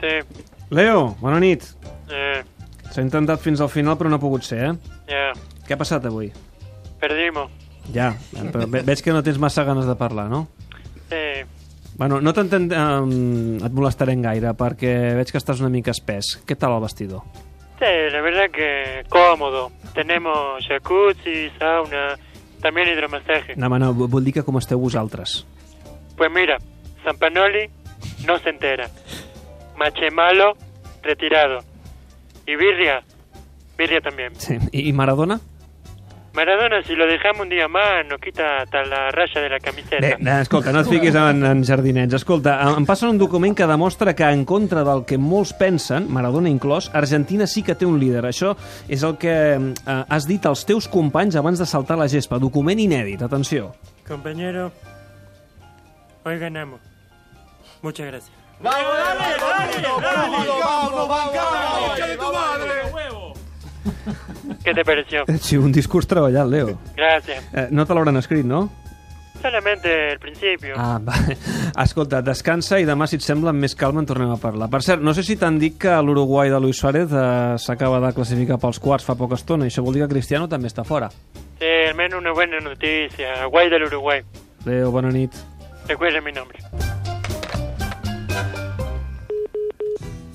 Sí, Leo, bona nit. eh, S'ha intentat fins al final, però no ha pogut ser, eh? ya, Què ha passat avui? perdimos. Ja, però ve- veig que no tens massa ganes de parlar, no? Sí, Bueno, no t'enten... Um, et molestarem gaire, perquè veig que estàs una mica espès. Què tal el vestidor? sí, la verdad que cómodo. Tenemos jacuzzi, sauna, también hidromasaje. No, home, no, vu- vull dir que com esteu vosaltres. Pues mira, Zampanoli no se entera. Machemalo, retirado. Y Birria, Birria también. Sí. I, I Maradona? Maradona, si lo dejamos un día más, nos quita hasta la raya de la camiseta. Bé, no, escolta, no et fiquis en, en jardinets. Escolta, em- em passen un document que demostra que, en contra del que molts pensen, Maradona inclòs, Argentina sí que té un líder. Això és el que eh, has dit als teus companys abans de saltar la gespa. Document inèdit, atenció. Compañero, hoy ganamos. Muchas gracias. ¿Qué te pareció? Eh, Sí, un discurs treballat, Leo. Gracias. Eh, no te l'hauran escrit, no? Solamente el principio. Ah, va. Escolta, descansa i demà, si et sembla, amb més calma en tornem a parlar. Per cert, no sé si t'han dit que l'Uruguai de Luis Suárez eh, s'acaba de classificar pels quarts fa poca estona, i això vol dir que Cristiano també està fora. Sí, al menos una buena noticia. Guay del Uruguay. Leo, bona nit. Recuerden mi nombre.